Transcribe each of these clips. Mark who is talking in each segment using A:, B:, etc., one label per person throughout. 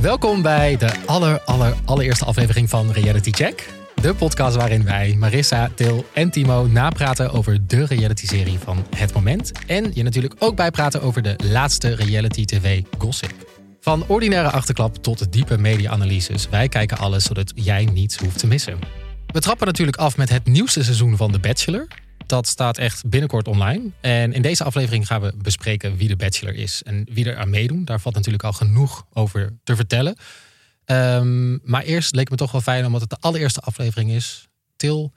A: Welkom bij de aller, aller, allereerste aflevering van Reality Check. De podcast waarin wij, Marissa, Til en Timo napraten over de reality-serie van het moment. En je natuurlijk ook bijpraten over de laatste reality-tv-gossip. Van ordinaire achterklap tot diepe media-analyses. Wij kijken alles zodat jij niets hoeft te missen. We trappen natuurlijk af met het nieuwste seizoen van The Bachelor. Dat staat echt binnenkort online. En in deze aflevering gaan we bespreken wie de Bachelor is en wie er aan meedoen. Daar valt natuurlijk al genoeg over te vertellen. Ehm, maar eerst leek het me toch wel fijn, omdat het de allereerste aflevering is. Til,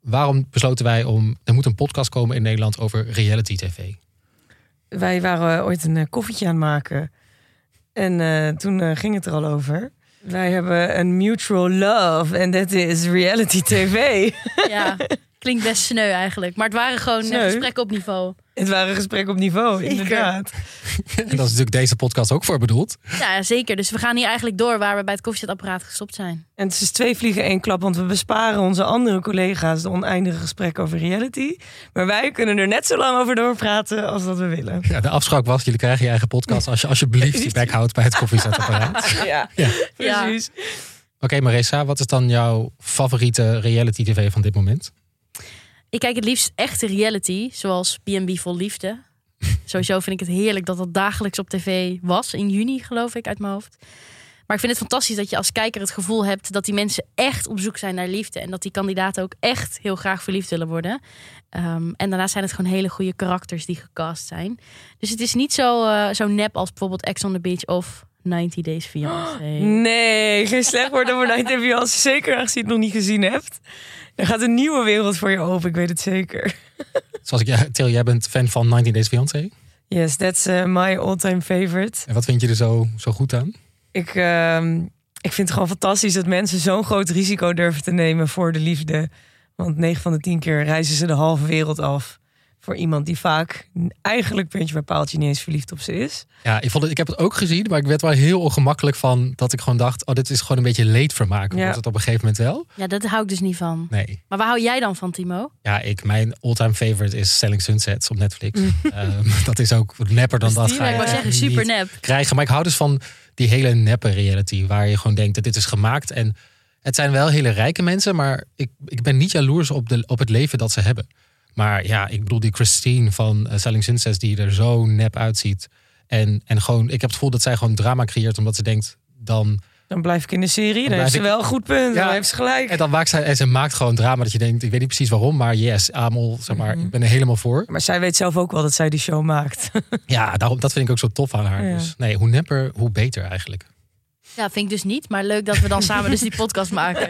A: waarom besloten wij om. Er moet een podcast komen in Nederland over reality TV.
B: Wij waren ooit een eh, koffietje aan het maken. En eh, toen eh, ging het er al over. Wij hebben een mutual love en dat is reality tv.
C: Ja, klinkt best sneu eigenlijk. Maar het waren gewoon eh,
B: Sneu?
C: gesprekken op niveau.
B: het waren gesprekken op niveau,
C: Zeker.
B: inderdaad.
A: En dat is natuurlijk deze podcast ook voor bedoeld.
C: Ja, zeker. Dus we gaan hier eigenlijk door waar we bij het koffiezetapparaat gestopt zijn.
B: En het is twee vliegen één klap, want we besparen onze andere collega's de oneindige gesprekken over reality. Maar wij kunnen er net zo lang over doorpraten als dat we willen.
A: Ja, de afspraak was: jullie krijgen je eigen podcast als je alsjeblieft je bek houdt bij het koffiezetapparaat. Oké,
B: Ja,
A: Ja.
B: precies.
A: Marissa, wat is dan jouw favoriete reality TV van dit moment?
C: Ik kijk het liefst echte reality, zoals B&B Vol Liefde. Sowieso vind ik het heerlijk dat dat dagelijks op tv was. In juni geloof ik uit mijn hoofd. Maar ik vind het fantastisch dat je als kijker het gevoel hebt dat die mensen echt op zoek zijn naar liefde. En dat die kandidaten ook echt heel graag verliefd willen worden. Ehm, en daarnaast zijn het gewoon hele goede karakters die gecast zijn. Dus het is niet zo, eh, zo nep als bijvoorbeeld Ex on the Beach of 90 Days Fiancé.
B: Nee, geen slecht woord over Night TV als zeker aangezien je het nog niet gezien hebt. Er gaat een nieuwe wereld voor je open, ik weet het zeker.
A: Zoals ik, ja, Til, jij bent fan van 19 Days Fiancé.
B: Yes, that's eh, my all-time favorite.
A: En wat vind je er zo, zo goed aan?
B: Ik, ehm, ik vind het gewoon fantastisch dat mensen zo'n groot risico durven te nemen voor de liefde. Want 9 van de 10 keer reizen ze de halve wereld af voor iemand die vaak eigenlijk puntje bij paaltje niet eens verliefd op ze is.
A: Ja, ik, vond het, ik heb het ook gezien, maar ik werd wel heel ongemakkelijk van dat ik gewoon dacht: oh, dit is gewoon een beetje leedvermaak.
B: Ja.
A: Wordt het op een gegeven moment wel?
C: Ja, dat hou ik dus niet van.
A: Nee.
C: Maar waar hou jij dan van, Timo?
A: Ja, ik, mijn all-time favorite is Selling Sunsets op Netflix. Ehm, dat is ook nepper dan dat.
B: die,
A: Ga je
C: ik Mm. Dus wou
A: echt
C: zeggen, super
A: Eh, niet
C: nep.
A: krijgen. Maar ik hou dus van die hele neppe reality, waar je gewoon denkt dat dit is gemaakt. En het zijn wel hele rijke mensen, maar ik, ik ben niet jaloers op, de, op het leven dat ze hebben. Maar ja, ik bedoel die Christine van eh, Selling Sunset, die er zo nep uitziet. En, en gewoon, ik heb het gevoel dat zij gewoon drama creëert, omdat ze denkt dan.
B: Dan blijf ik in de serie, dan,
A: blijf
B: heeft ze
A: ik-
B: wel een goed punt,
A: Ja,
B: dan heeft ze gelijk.
A: En dan maakt zij, en ze maakt gewoon drama dat je denkt, ik weet niet precies waarom, maar yes, Amel, zeg maar, ik ben er helemaal voor.
B: Maar zij weet zelf ook wel dat zij die show maakt.
A: Ja, daarom, dat vind ik ook zo tof aan haar.
B: Ja.
A: Dus nee, hoe nepper, hoe beter eigenlijk.
C: Ja, vind ik dus niet. Maar leuk dat we dan samen dus die podcast maken.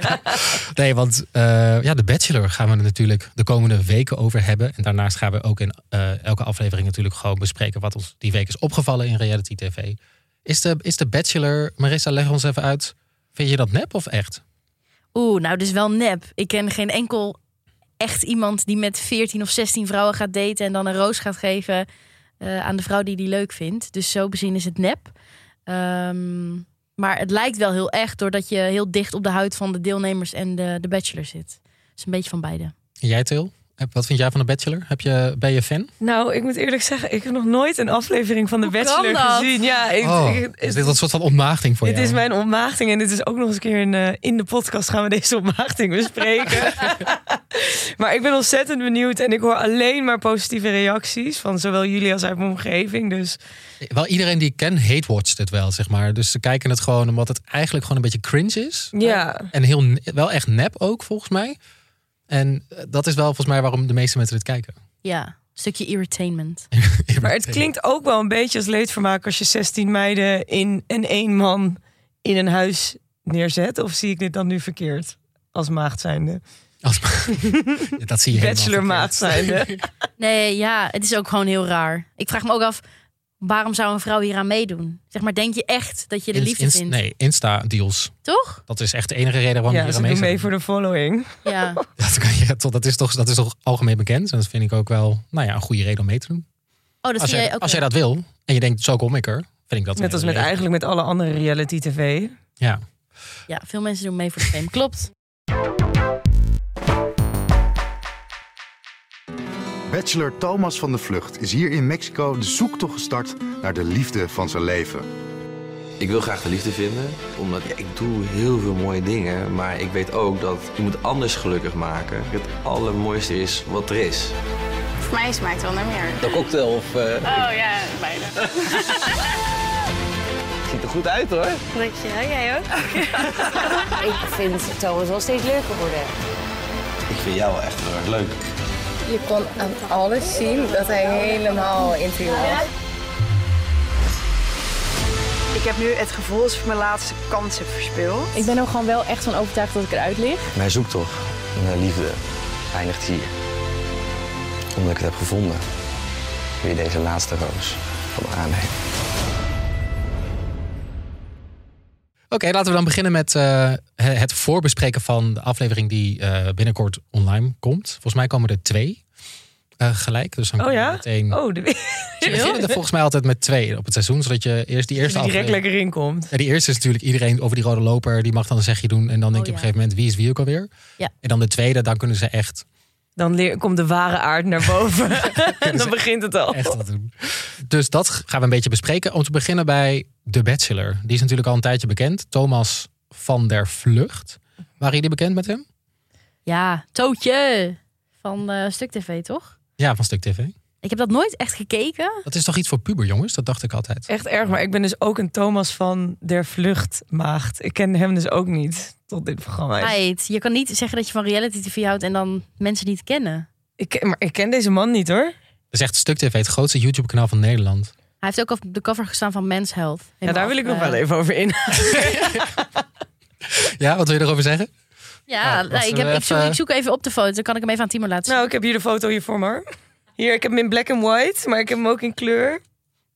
A: Nee, want eh, ja, de Bachelor gaan we er natuurlijk de komende weken over hebben. En daarnaast gaan we ook in eh, elke aflevering natuurlijk gewoon bespreken wat ons die week is opgevallen in reality tv. Is de, is de Bachelor, Marissa, leg ons even uit. Vind je dat nep of echt?
C: Oeh, nou, dus wel nep. Ik ken geen enkel echt iemand die met 14 of 16 vrouwen gaat daten en dan een roos gaat geven eh, aan de vrouw die die leuk vindt. Dus zo bezien is het nep. Ehm, maar het lijkt wel heel echt doordat je heel dicht op de huid van de deelnemers en de, de bachelor zit. Dus een beetje van beide.
A: En jij, Til? Heb- Wat vind jij van de Bachelor? Heb je, ben je fan?
B: Nou, ik moet eerlijk zeggen, ik heb nog nooit een aflevering van The
C: Hoe kan
B: Bachelor
C: dat?
B: gezien. Ja, ik,
A: Oh,
B: ik-
A: is dit een soort van ontmaagding voor
B: Dit
A: jou?
B: is mijn ontmaagding en dit is ook nog eens een keer een, eh, in de podcast gaan we deze ontmaagding bespreken. maar ik ben ontzettend benieuwd en ik hoor alleen maar positieve reacties van zowel jullie als uit mijn omgeving. Dus
A: Wel, iedereen die ik ken hate-watcht het wel, zeg maar. Dus ze kijken het gewoon omdat het eigenlijk gewoon een beetje cringe is.
B: ja,
A: En heel, ne- wel echt nep ook, volgens mij. En eh, dat is wel volgens mij waarom de meeste mensen dit kijken.
C: Ja, stukje entertainment.
B: maar het klinkt ook wel een beetje als leedvermaak als je 16 meiden in en één man in een huis neerzet. Of zie ik dit dan nu verkeerd? Als maagd zijnde.
A: Als, Ja, dat zie je helemaal
B: Bachelor maagd
A: verkeerd.
B: zijnde.
C: Nee, ja, het is ook gewoon heel raar. Ik vraag me ook af, waarom zou een vrouw hier aan meedoen? Zeg maar, denk je echt dat je de
A: Inst-
C: liefde
A: inst-
C: vindt?
A: Nee, Insta-deals.
C: Toch?
A: Dat is echt de enige reden waarom je
B: Ja,
A: hier
B: ze
A: aan mee
B: doen mee
A: zou
B: voor de following.
C: Ja. Oh,
A: doen. Dat, kan, ja, toch, dat, is toch, dat is toch algemeen bekend. En dat vind ik ook wel nou ja, een goede reden om mee te doen.
C: Oh, dat
A: Als
C: vind
A: jij,
C: jij ook.
A: als jij dat wil en je denkt, zo kom ik er. Vind ik dat
B: Net
A: een
B: als met
A: hele
B: eigenlijk met alle andere reality tv.
A: Ja.
C: Ja, veel mensen doen mee voor de fame. Klopt.
D: Bachelor Thomas van de Vlucht is hier in Mexico de zoektocht gestart naar de liefde van zijn leven.
E: Ik wil graag de liefde vinden, omdat ja, ik doe heel veel mooie dingen. Maar ik weet ook dat je moet anders gelukkig maken. Het allermooiste is wat er is.
F: Voor mij smaakt wel naar meer.
E: De cocktail of... eh,
F: Oh ja, bijna.
E: ziet er goed uit hoor.
F: Dank je. Jij ook?
G: Ik vind Thomas wel steeds leuker worden.
E: Ik vind jou wel echt heel erg leuk.
G: Je kon aan alles zien dat hij helemaal into you was.
H: Ik heb nu het gevoel alsof ik mijn laatste kans heb verspeeld.
G: Ik ben er gewoon wel echt van overtuigd dat ik eruit lig.
E: Mijn zoektocht naar liefde eindigt hier. Omdat ik het heb gevonden. Wil je deze laatste roos van me aannemen?
A: Oké, laten we dan beginnen met eh, het voorbespreken van de aflevering die eh, binnenkort online komt. Volgens mij komen er twee eh, gelijk. Dus dan
B: Oh
A: kunnen we
B: ja?
A: meteen.
B: Oh, de
A: Ze beginnen er volgens mij altijd met twee op het seizoen, zodat je eerst die
B: Als
A: eerste
B: je direct
A: aflevering.
B: lekker inkomt.
A: Ja, die eerste is natuurlijk iedereen over die rode loper, die mag dan een zegje doen. En dan denk je
C: Oh,
A: op
C: ja.
A: een gegeven moment wie is wie ook alweer.
C: Ja.
A: En dan de tweede, dan kunnen ze echt,
B: Dan leer, komt de ware aard naar boven. dan begint het al.
A: echt wat doen. Dus dat gaan we een beetje bespreken. Om te beginnen bij The Bachelor. Die is natuurlijk al een tijdje bekend. Thomas van der Vlucht. Waren jullie bekend met hem?
C: Ja, Tootje van eh, Stuk TV, toch?
A: Ja, van Stuk TV.
C: Ik heb dat nooit echt gekeken.
A: Dat is toch iets voor puberjongens? Dat dacht ik altijd.
B: Echt erg, maar ik ben dus ook een Thomas van der Vluchtmaagd. Ik ken hem dus ook niet tot dit programma.
C: Meid, je kan niet zeggen dat je van reality TV houdt en dan mensen niet kennen.
B: Ik, ken- maar ik ken deze man niet hoor.
A: Dat is echt Stuk TV, het grootste YouTube-kanaal van Nederland.
C: Hij heeft ook op de cover gestaan van Men's Health. eh,
B: Ja, daar wil ik nog wel even over in.
A: Ja, wat wil je erover zeggen?
C: Ja,
A: Nou,
C: nee,
A: wacht,
C: ik, heb,
A: we
C: ik, zoek,
A: even-
C: ik zoek even op de foto. Dan kan ik hem even aan Timo laten zien.
B: Nou, ik heb hier de foto hier voor me. hoor. Hier, ik heb hem in black and white, maar ik heb hem ook in kleur.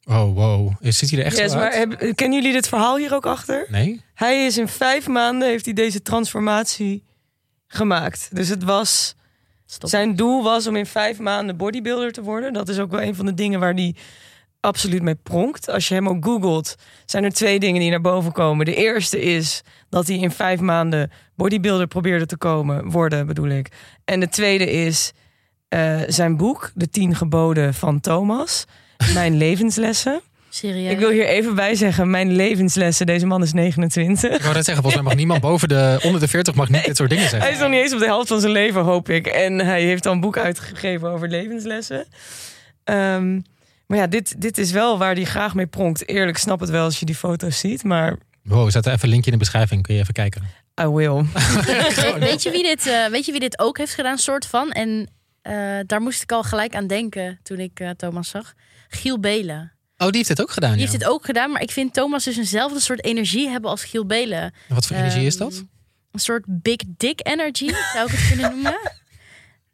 A: Oh, wow. Zit hij er echt
B: Yes,
A: zo uit?
B: maar heb- kennen jullie dit verhaal hier ook achter?
A: Nee?
B: Hij is in vijf maanden heeft hij deze transformatie gemaakt. Dus het was
C: Stop.
B: Zijn doel was om in vijf maanden bodybuilder te worden. Dat is ook wel een van de dingen waar hij absoluut mee pronkt. Als je hem ook googelt, zijn er twee dingen die naar boven komen. De eerste is dat hij in vijf maanden bodybuilder probeerde te komen, worden bedoel ik. En de tweede is eh, zijn boek, De Tien Geboden van Thomas. Mijn levenslessen.
C: Serieus.
B: Ik wil hier even bij zeggen, mijn levenslessen. Deze man is 29.
A: Ik wou net zeggen, volgens mij mag niemand boven de, onder de 40 mag niet dit soort dingen
B: Hij
A: zeggen.
B: is nog niet eens op de helft van zijn leven, hoop ik. En hij heeft al een boek uitgegeven over levenslessen. Ehm, maar ja, dit, dit is wel waar hij graag mee pronkt. Eerlijk, ik snap het wel als je die foto's ziet, maar
A: Wow, zet er even een linkje in de beschrijving. Kun je even kijken.
B: I will.
C: We- weet, je wie dit, eh, weet je wie dit ook heeft gedaan, soort van? En eh, daar moest ik al gelijk aan denken toen ik eh, Thomas zag. Giel Belen.
A: Oh, die heeft dit ook gedaan.
C: Die
A: ja.
C: heeft dit ook gedaan, maar ik vind Thomas dus eenzelfde soort energie hebben als Giel Belen.
A: En Wat voor energie is
C: Ehm,
A: dat?
C: Een soort big dick energy, zou ik het kunnen noemen.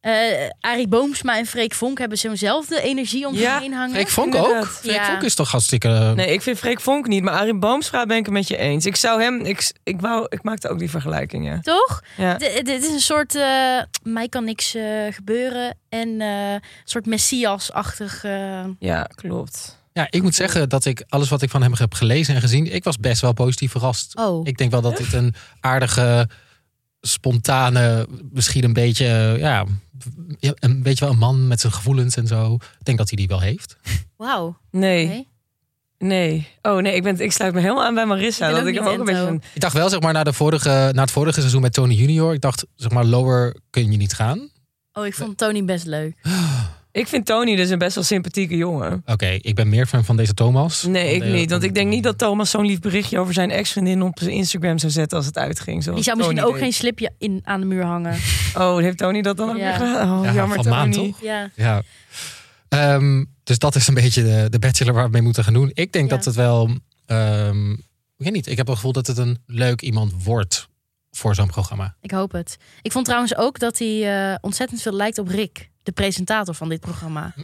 C: Eh Arie Boomsma en Freek Vonk hebben zo'nzelfde energie om
B: Ja,
C: zich heen hangen.
A: Freek Vonk ook?
B: inderdaad.
A: Freek
C: Ja.
A: Vonk is toch hartstikke... eh,
B: Nee, ik vind Freek Vonk niet, maar Arie Boomstra ben ik het met je eens. Ik zou hem, ik, ik, wou, ik maakte ook die vergelijkingen.
C: Toch?
B: Ja.
C: D- Dit is een soort, eh, mij kan niks eh, gebeuren. En eh, een soort messias-achtig. eh,
B: ja, klopt.
A: Ja, ik moet zeggen dat ik alles wat ik van hem heb gelezen en gezien... Ik was best wel positief verrast.
C: oh,
A: Ik denk wel dat dit een aardige, spontane, misschien een beetje, eh, ja, ja, een beetje wel een man met zijn gevoelens en zo. Ik denk dat hij die wel heeft.
C: wauw.
B: Nee,
C: Oké.
B: nee. Oh nee, ik, ben, ik sluit me helemaal aan bij Marissa.
C: Ik ben
B: dat
C: ook
B: ik hem
C: niet
B: ook een
C: into.
B: beetje... een-
A: Ik dacht wel, zeg maar, na, de vorige, na het vorige seizoen met Tony Junior. Ik dacht, zeg maar, lower kun je niet gaan. Oké,
C: Oh, ik vond Tony best leuk.
A: Oh,
B: Ik vind Tony dus een best wel sympathieke jongen.
A: ik ben meer fan van deze Thomas.
B: Nee, ik
A: Van de-
B: niet. Want ik denk niet dat Thomas zo'n lief berichtje over zijn ex-vriendin op zijn Instagram zou zetten als het uitging. Zoals
C: Die zou misschien
B: Tony
C: ook geen
B: deed.
C: slipje in, aan de muur hangen.
B: Oh, heeft Tony dat dan ook
C: Ja.
B: weer gedaan? Oh,
A: Ja,
B: jammer
A: van
B: Tony.
A: maand, toch?
C: Ja.
A: Ja. Ehm, dus dat is een beetje de, de bachelor waar we mee moeten gaan doen. Ik denk
C: Ja.
A: dat het wel, ehm, ik weet niet, ik heb wel het gevoel dat het een leuk iemand wordt voor zo'n programma.
C: Ik hoop het. Ik vond trouwens ook dat hij eh, ontzettend veel lijkt op Rick, de presentator van dit programma.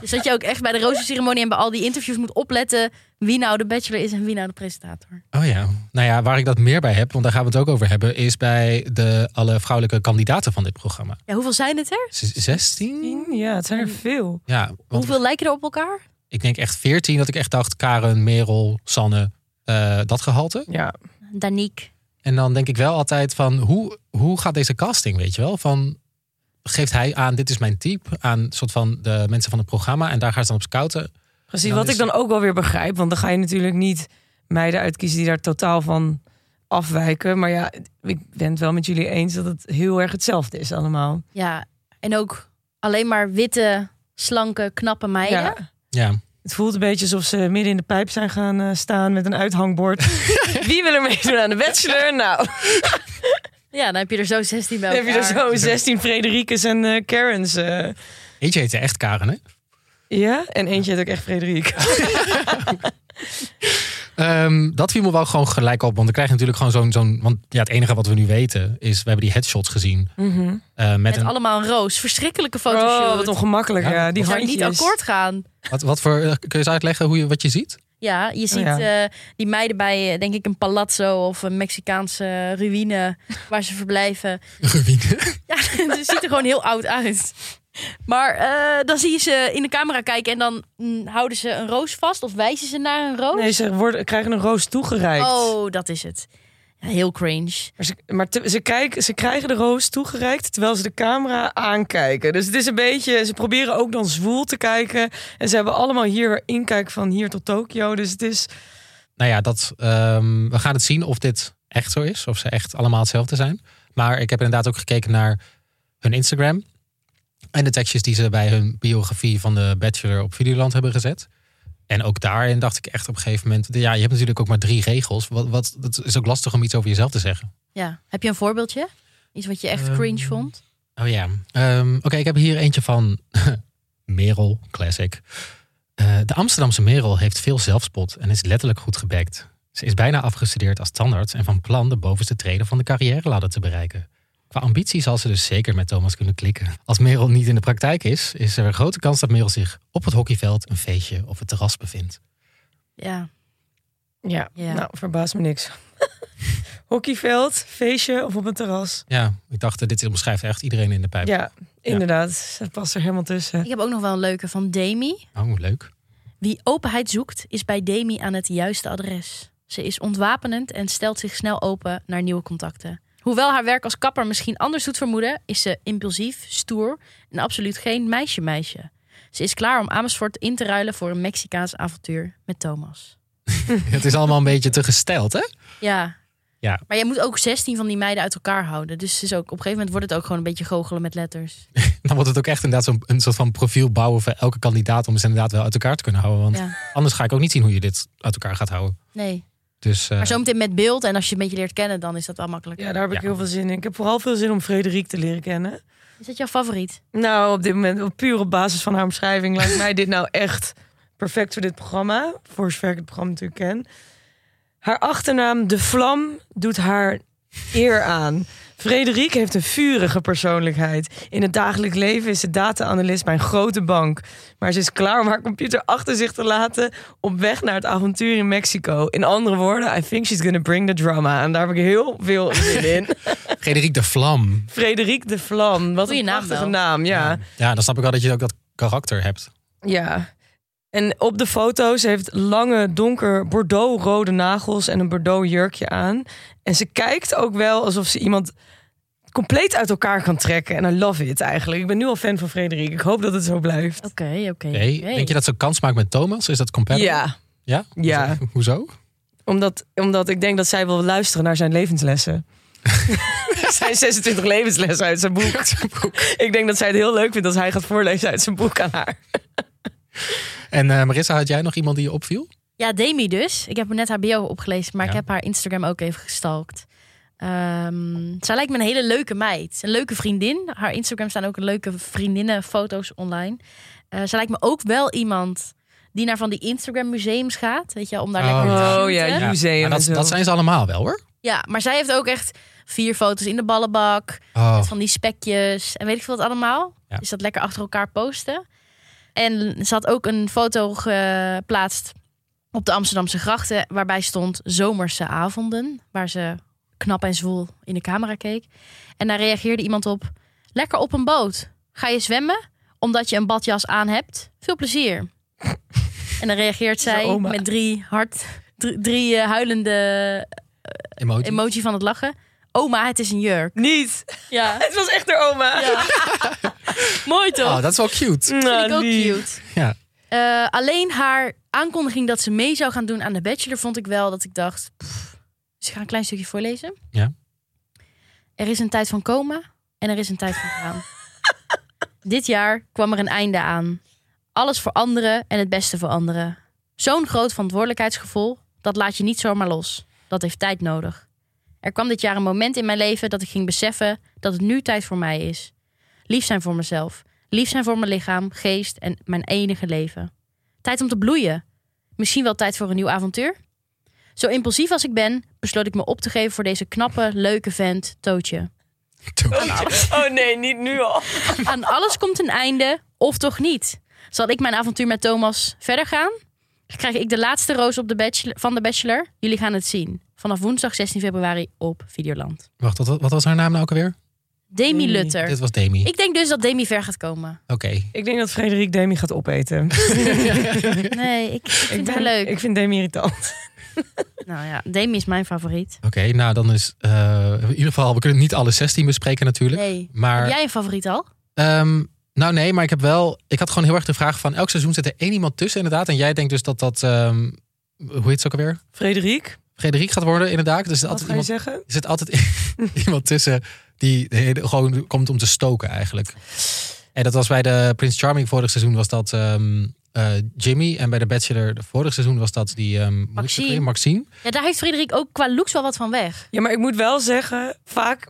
C: dus dat je ook echt bij de rozenceremonie en bij al die interviews moet opletten wie nou de bachelor is en wie nou de presentator.
A: Oh ja. Nou ja, waar ik dat meer bij heb, want daar gaan we het ook over hebben, is bij de alle vrouwelijke kandidaten van dit programma.
C: Ja, hoeveel zijn het er?
A: Z- 16?
B: Ja, het zijn er veel.
A: Ja, want
C: Hoeveel lijken er op elkaar?
A: ik denk echt 14 dat ik echt dacht Karen, Merel, Sanne, eh, dat gehalte.
B: Ja.
C: Danique.
A: En dan denk ik wel altijd van hoe, hoe gaat deze casting, weet je wel? Van geeft hij aan dit is mijn type aan soort van de mensen van het programma en daar gaan ze dan op scouten.
B: Precies,
A: Dan
B: wat
A: is-
B: ik dan ook wel weer begrijp. Want dan ga je natuurlijk niet meiden uitkiezen die daar totaal van afwijken. Maar ja, ik ben het wel met jullie eens dat het heel erg hetzelfde is allemaal.
C: Ja, en ook alleen maar witte, slanke, knappe meiden.
B: Ja.
A: Ja.
B: Het voelt een beetje alsof ze midden in de pijp zijn gaan eh, staan met een uithangbord. Wie wil er meedoen aan de bachelor? Nou,
C: Ja, dan heb je er zo 16 bij
B: dan heb je er
C: elkaar.
B: zo 16 Frederikes en eh, Karens. eh.
A: Eentje heette echt Karen, hè?
B: Ja, en eentje heet ook echt Frederik.
A: Ehm, dat viel me wel gewoon gelijk op. Want dan krijg je natuurlijk gewoon zo'n... zo'n want ja, het enige wat we nu weten is... We hebben die headshots gezien.
C: Mhm.
A: Eh, met
C: Met
A: een,
C: allemaal een roos. Verschrikkelijke fotoshoot.
B: Oh, wat ongemakkelijk.
A: Ja,
B: Ja, die
C: Die zou
B: handjes.
C: niet akkoord gaan.
A: wat, wat voor... eh, Kun je eens uitleggen hoe je, wat je ziet?
C: Ja, je ziet
B: Oh, Ja.
C: eh, die meiden bij, eh, denk ik, een palazzo of een Mexicaanse ruïne waar ze verblijven.
A: Ruïne.
C: Ja, ze ziet er gewoon heel oud uit. Maar eh, dan zie je ze in de camera kijken en dan mm, houden ze een roos vast of wijzen ze naar een roos.
B: Nee, ze worden, krijgen een roos toegereikt.
C: oh, dat is het. Ja, heel cringe.
B: Maar, ze, maar te- ze, kijken, ze krijgen de roos toegereikt terwijl ze de camera aankijken. Dus het is een beetje, ze proberen ook dan zwoel te kijken. En ze hebben allemaal hier inkijk van hier tot Tokio. Dus het is,
A: Nou ja, dat, ehm, we gaan het zien of dit echt zo is. Of ze echt allemaal hetzelfde zijn. Maar ik heb inderdaad ook gekeken naar hun Instagram. En de tekstjes die ze bij hun biografie van de Bachelor op Videoland hebben gezet. En ook daarin dacht ik echt op een gegeven moment... Ja, je hebt natuurlijk ook maar drie regels. Wat, wat, het is ook lastig om iets over jezelf te zeggen.
C: Ja. Heb je een voorbeeldje? Iets wat je echt
A: Ehm,
C: cringe vond?
A: Oh ja. Ehm, Oké, ik heb hier eentje van Merel Classic. Eh, de Amsterdamse Merel heeft veel zelfspot en is letterlijk goed gebekt. Ze is bijna afgestudeerd als tandarts en van plan de bovenste treden van de carrière ladder te bereiken. Qua ambitie zal ze dus zeker met Thomas kunnen klikken. Als Merel niet in de praktijk is, is er een grote kans dat Merel zich op het hockeyveld, een feestje of het terras bevindt.
C: Ja.
B: ja,
C: Ja.
B: nou verbaast me niks. Hockeyveld, feestje of op een terras.
A: Ja, ik dacht, eh, dit beschrijft echt iedereen in de pijp.
B: Ja, inderdaad. Ze past er helemaal tussen.
C: Ik heb ook nog wel een leuke van Demi.
A: Oh, leuk.
C: Wie openheid zoekt, is bij Demi aan het juiste adres. Ze is ontwapenend en stelt zich snel open naar nieuwe contacten. Hoewel haar werk als kapper misschien anders doet vermoeden, is ze impulsief, stoer en absoluut geen meisje-meisje. Ze is klaar om Amersfoort in te ruilen voor een Mexicaans avontuur met Thomas.
A: het is allemaal een beetje te gesteld, hè?
C: Ja.
A: Ja.
C: Maar je moet ook 16 van die meiden uit elkaar houden. Dus het is ook, op een gegeven moment wordt het ook gewoon een beetje goochelen met letters.
A: Dan wordt het ook echt inderdaad zo'n een soort van profiel bouwen voor elke kandidaat om ze inderdaad wel uit elkaar te kunnen houden. Want
C: Ja.
A: anders ga ik ook niet zien hoe je dit uit elkaar gaat houden.
C: Nee.
A: Dus eh,
C: Maar zometeen met beeld en als je een beetje leert kennen, dan is dat al makkelijker.
B: Ja, daar heb ik
A: Ja.
B: heel veel zin in. Ik heb vooral veel zin om Frederik te leren kennen.
C: Is dat jouw favoriet?
B: Nou, op dit moment, op- puur op basis van haar omschrijving, lijkt mij dit nou echt perfect voor dit programma. Voor zover ik het programma natuurlijk ken. Haar achternaam, De Vlam, doet haar eer aan. Frederik heeft een vurige persoonlijkheid. In het dagelijk leven is ze data-analyst bij een grote bank. Maar ze is klaar om haar computer achter zich te laten op weg naar het avontuur in Mexico. In andere woorden, I think she's gonna bring the drama. En daar heb ik heel veel zin in.
A: Frederik de Vlam.
B: Frederik de Vlam, wat
C: Goeie
B: een
C: naam
B: prachtige
C: wel.
B: naam, ja.
A: Ja, dan snap ik wel dat je ook dat karakter hebt.
B: Ja. En op de foto's heeft lange, donker, bordeaux-rode nagels en een bordeaux-jurkje aan. En ze kijkt ook wel alsof ze iemand compleet uit elkaar kan trekken. En I love it eigenlijk. Ik ben nu al fan van Frederik. Ik hoop dat het zo blijft.
C: Oké, oké.
A: Nee,
C: oké.
A: Denk je dat ze kans maakt met Thomas? Is dat compatible?
B: Ja,
A: Ja?
B: Ja.
A: Hoezo? Hoezo?
B: omdat, omdat ik denk dat zij wil luisteren naar zijn levenslessen. zijn 26 levenslessen uit zijn boek. Ik denk dat zij het heel leuk vindt als hij gaat voorlezen uit zijn boek aan haar.
A: En eh, Marissa, had jij nog iemand die je opviel?
C: Ja, Demi dus. Ik heb net haar bio opgelezen, maar
A: Ja.
C: ik heb haar Instagram ook even gestalkt. Ehm, zij lijkt me een hele leuke meid. Een leuke vriendin. Haar Instagram staan ook leuke vriendinnenfoto's online. Eh, zij lijkt me ook wel iemand die naar van die Instagram museums gaat. Weet je, om daar
A: Oh,
C: lekker te
A: ja.
B: Oh, ja,
C: shooten.
B: ja. Museum
A: maar
B: en
A: dat,
B: zo.
A: dat zijn ze allemaal wel hoor.
C: Ja, maar zij heeft ook echt vier foto's in de ballenbak.
A: Oh,
C: Van die spekjes en weet ik veel wat allemaal.
A: Ja.
C: Dus dat lekker achter elkaar posten. En ze had ook een foto geplaatst op de Amsterdamse grachten. Waarbij stond zomerse avonden. Waar ze knap en zwoel in de camera keek. En daar reageerde iemand op. Lekker op een boot. Ga je zwemmen? Omdat je een badjas aan hebt. Veel plezier. en dan reageert zij
B: oma.
C: met drie, hart, drie, drie eh, huilende
A: emotie.
C: emoji van het lachen. Oma, het is een jurk.
B: Niet!
C: Ja.
B: Het was echt haar oma.
C: Mooi toch?
A: Oh, dat is wel cute.
C: Mm. vind ik ook
B: lief.
C: cute.
A: Ja.
C: Eh, alleen haar aankondiging dat ze mee zou gaan doen aan de Bachelor vond ik wel dat ik dacht. pff. dus ik ga een klein stukje voorlezen.
A: Ja.
C: Er is een tijd van komen en er is een tijd van gaan. Dit jaar kwam er een einde aan. Alles voor anderen en het beste voor anderen. Zo'n groot verantwoordelijkheidsgevoel, dat laat je niet zomaar los. Dat heeft tijd nodig. Er kwam dit jaar een moment in mijn leven dat ik ging beseffen dat het nu tijd voor mij is. Lief zijn voor mezelf. Lief zijn voor mijn lichaam, geest en mijn enige leven. Tijd om te bloeien. Misschien wel tijd voor een nieuw avontuur? Zo impulsief als ik ben, besloot ik me op te geven voor deze knappe, leuke vent, Tootje.
A: Nou,
B: Oh nee, niet nu al.
C: Aan alles komt een einde, of toch niet? Zal ik mijn avontuur met Thomas verder gaan? Krijg ik de laatste roos op de bachelor, van de Bachelor? Jullie gaan het zien. Vanaf woensdag 16 februari op Videoland.
A: Wacht, wat, wat was haar naam nou ook alweer?
C: Demi
B: Demi.
C: Lutter.
A: Dit was Demi.
C: Ik denk dus dat Demi ver gaat komen.
A: Oké.
B: Ik denk dat Frederik Demi gaat opeten.
C: Nee, ik, ik vind
B: ik
C: haar leuk.
B: Ik vind Demi irritant.
C: Nou ja, Demi is mijn favoriet.
A: Oké, nou dan is eh, in ieder geval, we kunnen niet alle 16 bespreken natuurlijk.
C: Nee.
A: Maar
C: Heb jij een favoriet al?
A: Ehm, nou nee, maar ik heb wel. Ik had gewoon heel erg de vraag van elk seizoen zit er één iemand tussen, inderdaad. En jij denkt dus dat dat. ehm, hoe heet ze ook alweer?
B: Frederik,
A: Frederik gaat worden, inderdaad. Dus er zit
B: wat
A: altijd,
B: ga je
A: iemand,
B: zeggen?
A: er zit altijd iemand tussen die de hele- gewoon komt om te stoken, eigenlijk. En dat was bij de Prince Charming vorig seizoen was dat ehm, eh, Jimmy. En bij de Bachelor vorig seizoen was dat die ehm, hoe heet ze ook
C: Maxine.
A: alweer? Maxine.
C: Ja, daar heeft Frederik ook qua looks wel wat van weg.
B: Ja, maar ik moet wel zeggen, vaak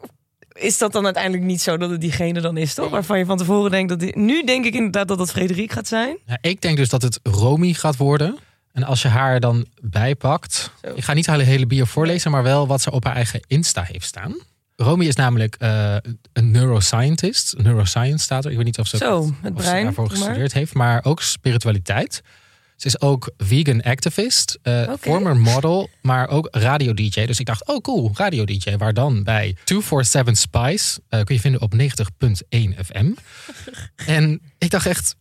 B: is dat dan uiteindelijk niet zo dat het diegene dan is, toch? Waarvan je van tevoren denkt dat... Die... Nu denk ik inderdaad dat dat Frederik gaat zijn.
A: Ja, ik denk dus dat het Romy gaat worden. En als je haar dan bijpakt.
B: Zo.
A: Ik ga niet haar hele bio voorlezen, maar wel wat ze op haar eigen Insta heeft staan. Romy is namelijk eh, een neuroscientist. Neuroscience staat er. Ik weet niet of ze,
B: Zo,
A: of
B: het
A: ze
B: brein,
A: daarvoor
B: doe maar.
A: gestudeerd heeft, maar ook spiritualiteit. Ze is ook vegan activist, eh,
B: Oké.
A: former model, maar ook radio-dj. Dus ik dacht, oh cool, radio-dj. Waar dan? Bij 247 Spice. eh, kun je vinden op 90.1 FM. en ik dacht echt,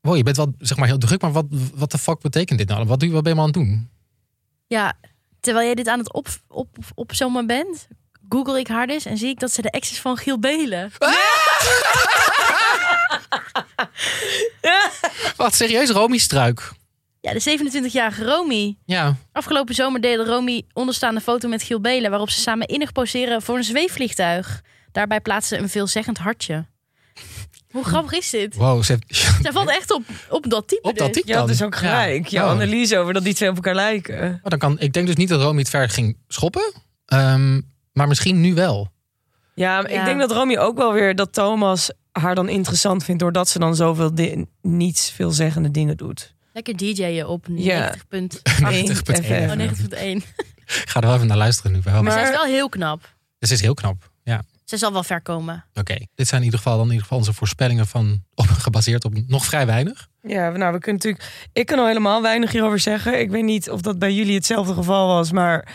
A: wow, je bent wel zeg maar heel druk, maar wat, wat de fuck betekent dit nou? Wat, doe, je- wat ben je allemaal aan het doen?
C: Ja, terwijl jij dit aan het op, op, opzommen bent, google ik haar dus en zie ik dat ze de ex is van Giel Belen.
A: Wat serieus, Romy Struik.
C: Ja, de 27-jarige Romy.
A: Ja,
C: Afgelopen zomer deelde Romy onderstaande foto met Giel Belen... waarop ze samen innig poseren voor een zweefvliegtuig. Daarbij plaatste ze een veelzeggend hartje. Hoe grappig is dit?
A: wow, ze heeft-
C: Zij valt echt op, op dat type
A: op dat
C: dus.
A: type
B: Je had
A: dan.
B: dus ook gelijk.
A: Ja.
B: Jouw
A: Oh.
B: analyse over dat die twee op elkaar lijken.
A: Oh, dan kan, ik denk dus niet dat Romy het ver ging schoppen. Ehm, maar misschien nu wel.
B: Ja, maar
C: Ja.
B: ik denk dat Romy ook wel weer dat Thomas haar dan interessant vindt... doordat ze dan zoveel di- niets veelzeggende dingen doet.
C: Lekker DJ'en op 90.1.
B: Ja.
A: Nee,
C: Oh, 90.1.
A: Ik ga er wel even naar luisteren nu. Maar...
C: Maar
A: Maar...
C: zij is wel heel knap.
A: Ze is heel knap. Ja,
C: Ze zal wel ver komen.
A: oké. Dit zijn in ieder geval dan in ieder geval onze voorspellingen van op, gebaseerd op nog vrij weinig.
B: Ja, nou, we kunnen natuurlijk. Ik kan al helemaal weinig hierover zeggen. Ik weet niet of dat bij jullie hetzelfde geval was, maar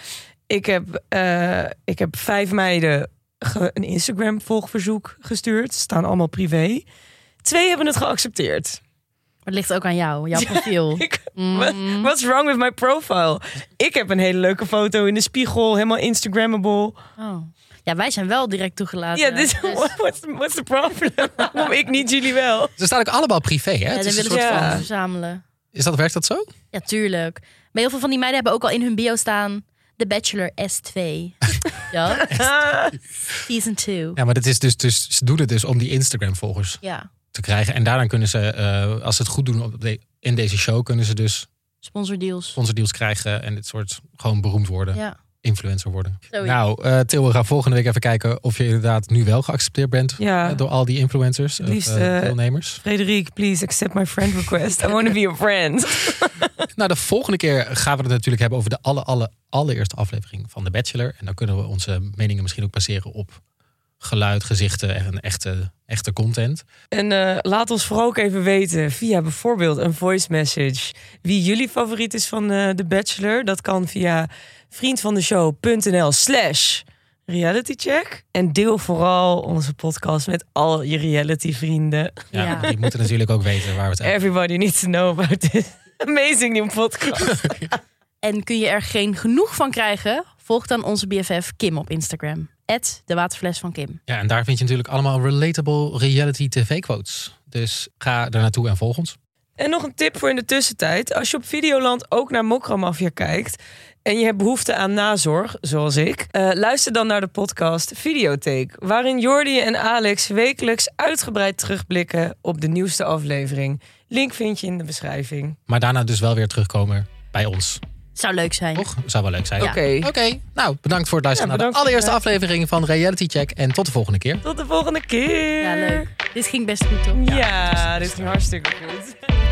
B: ik heb, eh, ik heb vijf meiden ge- een Instagram-volgverzoek gestuurd. Ze staan allemaal privé. Twee hebben het geaccepteerd.
C: Maar het ligt ook aan jou, jouw profiel.
B: Ik,
C: Mm.
B: what- what's wrong with my profile? Ik heb een hele leuke foto in de spiegel, helemaal Instagrammable.
C: Oh. Ja, wij zijn wel direct toegelaten.
B: Ja, dit
C: Dus-
B: what's, the- what's the problem? Waarom ik niet, jullie wel?
A: Ze staan ook allemaal privé, hè?
C: Ja,
A: Het
C: dan
A: is, een
C: willen ze
A: soort
B: van-
C: foto's verzamelen.
A: van- is dat, werkt dat zo?
C: Ja, tuurlijk. Maar heel veel van die meiden hebben ook al in hun bio staan... The Bachelor S2. ja, season 2.
A: Ja, maar dat is dus, dus, ze doen het dus om die Instagram-volgers
C: Ja,
A: te krijgen. En daarna kunnen ze, eh, als ze het goed doen op de- in deze show, kunnen ze dus
C: sponsordeals.
A: sponsordeals krijgen en dit soort gewoon beroemd worden.
C: Ja.
A: Influencer worden.
C: Zoiets.
A: Nou, eh Til, we gaan volgende week even kijken of je inderdaad nu wel geaccepteerd bent
B: Ja.
A: eh, door al die influencers, of,
B: Liefst,
A: eh,
B: eh,
A: deelnemers.
B: Frederik, please accept my friend request. I want to be your friend.
A: Nou, de volgende keer gaan we het natuurlijk hebben over de alle, alle, allereerste aflevering van The Bachelor. En dan kunnen we onze meningen misschien ook baseren op geluid, gezichten en echte, echte content.
B: En eh, laat ons vooral ook even weten via bijvoorbeeld een voice message wie jullie favoriet is van eh The Bachelor. Dat kan via vriendvandeshow.nl slash realitycheck. En deel vooral onze podcast met al je reality vrienden.
A: Ja,
C: Ja.
A: Die moeten natuurlijk ook weten waar we het hebben.
B: Everybody needs to know about this amazing new podcast.
C: En kun je er geen genoeg van krijgen? Volg dan onze BFF Kim op Instagram. At de waterfles van Kim.
A: Ja, en daar vind je natuurlijk allemaal relatable reality tv quotes. Dus ga daar naartoe en volg ons.
B: En nog een tip voor in de tussentijd. Als je op Videoland ook naar Mokramafia kijkt... en je hebt behoefte aan nazorg, zoals ik... eh, luister dan naar de podcast Videotheek... waarin Jordi en Alex wekelijks uitgebreid terugblikken... op de nieuwste aflevering. Link vind je in de beschrijving.
A: Maar daarna dus wel weer terugkomen bij ons.
C: Zou leuk zijn.
A: Toch? Zou wel leuk zijn.
B: Oké,
A: Oké, nou bedankt voor het luisteren
B: Ja,
A: naar de
B: bedankt voor
A: allereerste aflevering van Reality Check. En tot de volgende keer.
B: tot de volgende keer.
C: Ja, leuk. Dit ging best goed, toch?
B: Ja, dit ging hartstikke goed.